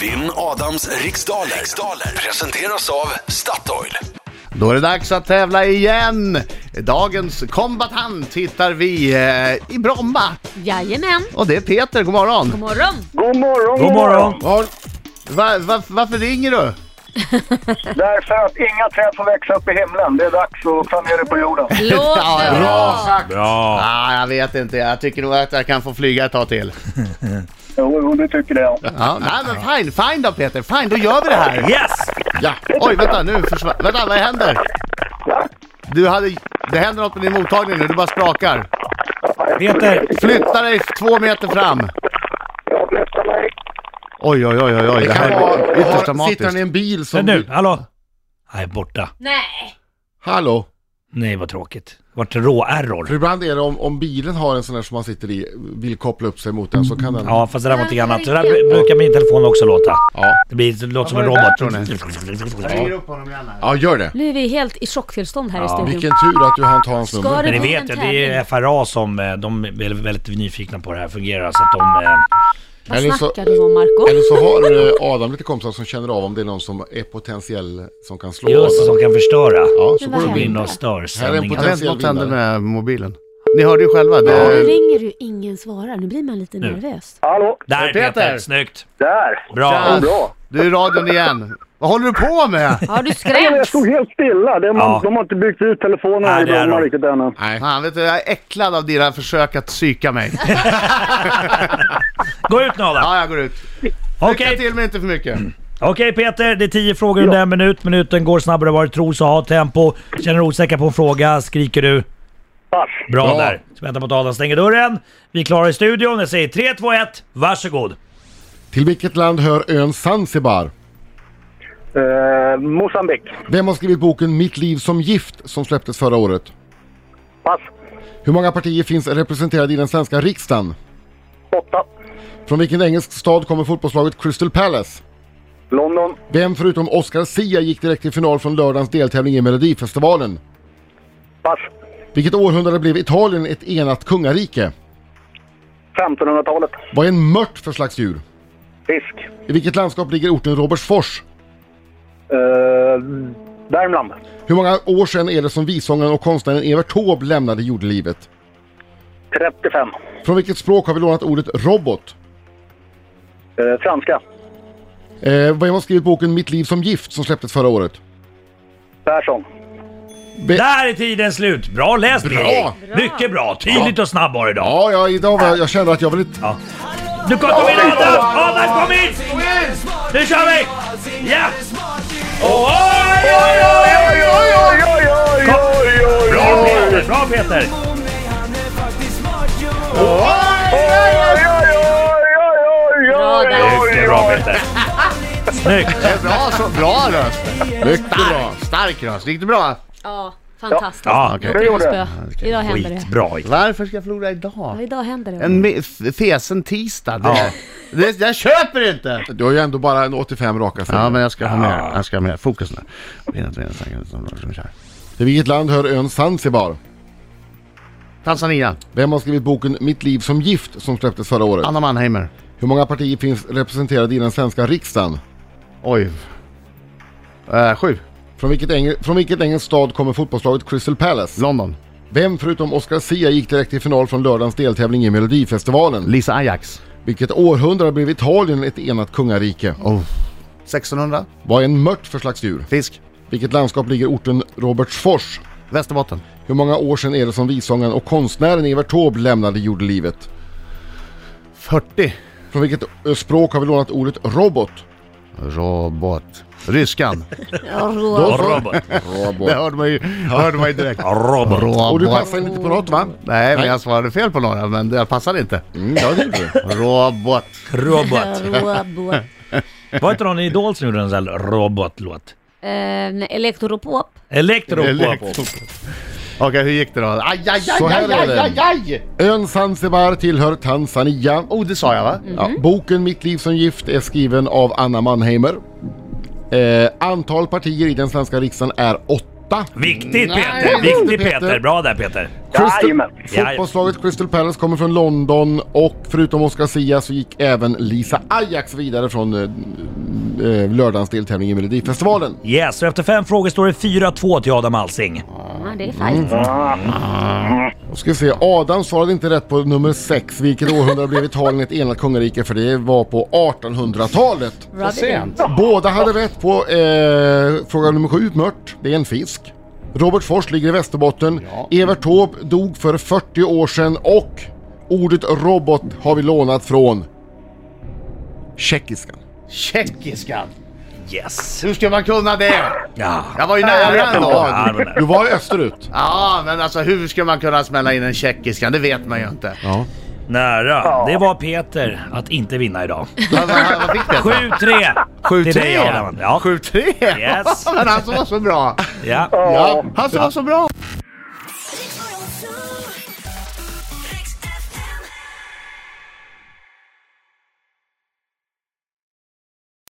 Vinn Adams riksdaler. riksdaler presenteras av Statoil. Då är det dags att tävla igen! Dagens kombatant hittar vi eh, i Bromma. Jajamän. Och det är Peter, god God morgon. morgon. God morgon, God morgon! Var, va, va, varför ringer du? Därför att inga träd får växa upp i himlen. Det är dags att planera på jorden. Låter Ja, ja. bra. Bra! Ah, jag vet inte, jag tycker nog att jag kan få flyga ett tag till. Jo, jo, det tycker jag. Ja, nej men fine, fine då Peter, fine, då gör vi det här. Yes! Ja. Oj, vänta nu försvann... Vänta, vad händer? Du hade... Det händer något med din mottagning nu, du bara sprakar. Peter! Flytta dig två meter fram. Oj, oj, oj, oj, oj. Det här kan är vara, ytterst har, sitter han i dramatiskt. en bil Men som... nu, hallå? Nej, borta. Nej. Hallå? Nej, vad tråkigt. Vart rå-error. För ibland är det om, om bilen har en sån där som man sitter i, vill koppla upp sig mot den så kan den... Ja, fast det där var någonting annat. Så där br- brukar min telefon också låta. Ja. Det blir det låter som en Ja, vad är det robot. där, upp honom igen här. ja, gör det. Nu är vi helt i chocktillstånd här i studion. Vilken tur att du hann ta hans Ska nummer. Men ni Det blir en vet ju, det är tävling. FRA som, eh, de är väldigt nyfikna på hur det här fungerar. Så att de... eh, Vad Eller så- snackar du om Marco? Eller så har eh, Adam lite kompisar som känner av om det är någon som är potentiell som kan slå Just det, Adam. som kan förstöra. Ja, så Men går vad de Gå in. in och stör Här är en Jag sändningen. vet inte vad som hände med mobilen. Ni hörde ju själva. Det... Nu ringer du, ingen svarar. Nu blir man lite Nu. nervös. Hallå, Där Peter. Peter! Snyggt! där! Bra! Tja. Bra! Du är i radion igen. Vad håller du på med? Har du Nej, men jag skrämts? stod helt stilla. De, Ja. de har inte byggt ut telefonerna Nej, i det är Bromma de. riktigt ännu. Nej, Han, vet du, jag är äcklad av dina försök att psyka mig. Gå ut nu Adam! Ja, jag går ut. Lycka Okej till men inte för mycket. Okej Peter, det är tio frågor under en minut. Minuten går snabbare än vad du tror, så ha tempo. Känner du osäker på en fråga skriker du. Pass! Bra Bra. där! Så vänta på att Adam stänger dörren. Vi klarar i studion. Jag säger 3, 2, 1. Varsågod! Till vilket land hör ön Zanzibar? Eh, Mosambik. Vem har skrivit boken Mitt liv som gift som släpptes förra året? Pass. Hur många partier finns representerade i den svenska riksdagen? Åtta. Från vilken engelsk stad kommer fotbollslaget Crystal Palace? London. Vem förutom Oscar Sia gick direkt till final från lördagens deltävling i Melodifestivalen? Pass. Vilket århundrade blev Italien ett enat kungarike? 1500-talet. Vad är en mört för slags djur? Fisk. I vilket landskap ligger orten Robertsfors? Eh, Värmland. Hur många år sedan är det som visångaren och konstnären Evert Taube lämnade jordelivet? 35. Från vilket språk har vi lånat ordet robot? Eh, franska. Eh, vem har skrivit boken Mitt liv som gift som släpptes förra året? Persson. Där är tiden slut! Bra läst Birgit! Mycket bra! Tydligt och snabb var du idag. Ja, ja idag var jag, jag kände att jag ville... Nu kom, kom in Adam! Adam kom in! Nu kör vi! Ja! Oj, oj, oj, oj, oj, oj, oj, oj, oj, oj! Bra Peter, bra Peter! Mycket bra Peter! Snyggt! Bra, så, bra röst. Mycket bra! Stark röst. Gick det bra? Ja, fantastiskt. Ja, Okej. Det gjorde jag. Idag händer det. skitbra Ica. Varför ska jag förlora Ja, idag? idag händer det. En me- f- fesen tisdag. Det, Ja. det, jag köper inte! Du har ju ändå bara en 85 raka Ja, frågor. men jag ska ha mer. Jag ska ha mer. Fokus nu. Vinna, vinna, vinna, vinna. Till vilket land hör ön Zanzibar? Tanzania. Vem har skrivit boken Mitt liv som gift som släpptes förra året? Anna Mannheimer. Hur många partier finns representerade i den svenska riksdagen? Oj. Eh, sju. Från vilket, engel, från vilket engelsk stad kommer fotbollslaget Crystal Palace? London. Vem förutom Oscar Sia gick direkt till final från lördagens deltävling i Melodifestivalen? Lisa Ajax. Vilket århundrade blev Italien ett enat kungarike? Oh. 1600. Vad är en mört för slags djur? Fisk. Vilket landskap ligger orten Robertsfors? Västerbotten. Hur många år sedan är det som visångaren och konstnären Evert Taube lämnade jordelivet? 40. Från vilket ö, språk har vi lånat ordet robot? Robot. Ryskan. Rå- Robot. Det Robot. hörde man ju, hörde man ju direkt. Robot. Och du Robot. passar inte på något va? Nej, men jag svarade fel på några, men det passade inte. Mm, ja, det gjorde du. Robot. Robot. Robot. Var inte någon i Idol som gjorde en sån här robotlåt? Eh, nej, Elektroropop. Elektropop. Okej, hur gick det då? Aj, aj, aj, Så här aj, är aj, det. aj, aj! Ön Zanzibar tillhör Tanzania. Oh, det sa jag va? Ja, boken Mitt liv som gift är skriven av Anna Mannheimer. Eh, antal partier i den svenska riksdagen är åtta. 8. Viktigt Nej, Peter, det är viktigt inte Peter. Peter. Bra där Peter. Jajamän. Fotbollslaget Crystal Palace kommer från London och förutom Oscar Sia så gick även Lisa Ajax vidare från eh, eh, lördagens deltävling i Melodifestivalen. Yes, och efter fem frågor står det 4-2 till Adam Alsing. Ja, det är fight. Då ska vi se, Adam svarade inte rätt på nummer 6, vilket århundrade blev Italien ett enat kungarike för det var på 1800-talet. Rub it in. Båda hade rätt på eh, fråga nummer 7, mört. Det är en fisk. Robert Fors ligger i Västerbotten. Evert Taube dog för 40 år sedan och ordet robot har vi lånat från tjeckiskan. Tjeckiskan! Yes. Hur ska man kunna det? Ja. Jag var ju nära ändå. Ja, det var där. Du var ju österut. Ja, men alltså hur ska man kunna smälla in en tjeckiskan? Det vet man ju inte. Ja. Nära. Det var Peter att inte vinna idag. Vad, vad, vad fick det? 7-3 till dig Adam. Ja. 7-3? Yes. Men han som var så bra! Ja. 啊 Ja, han som var så bra!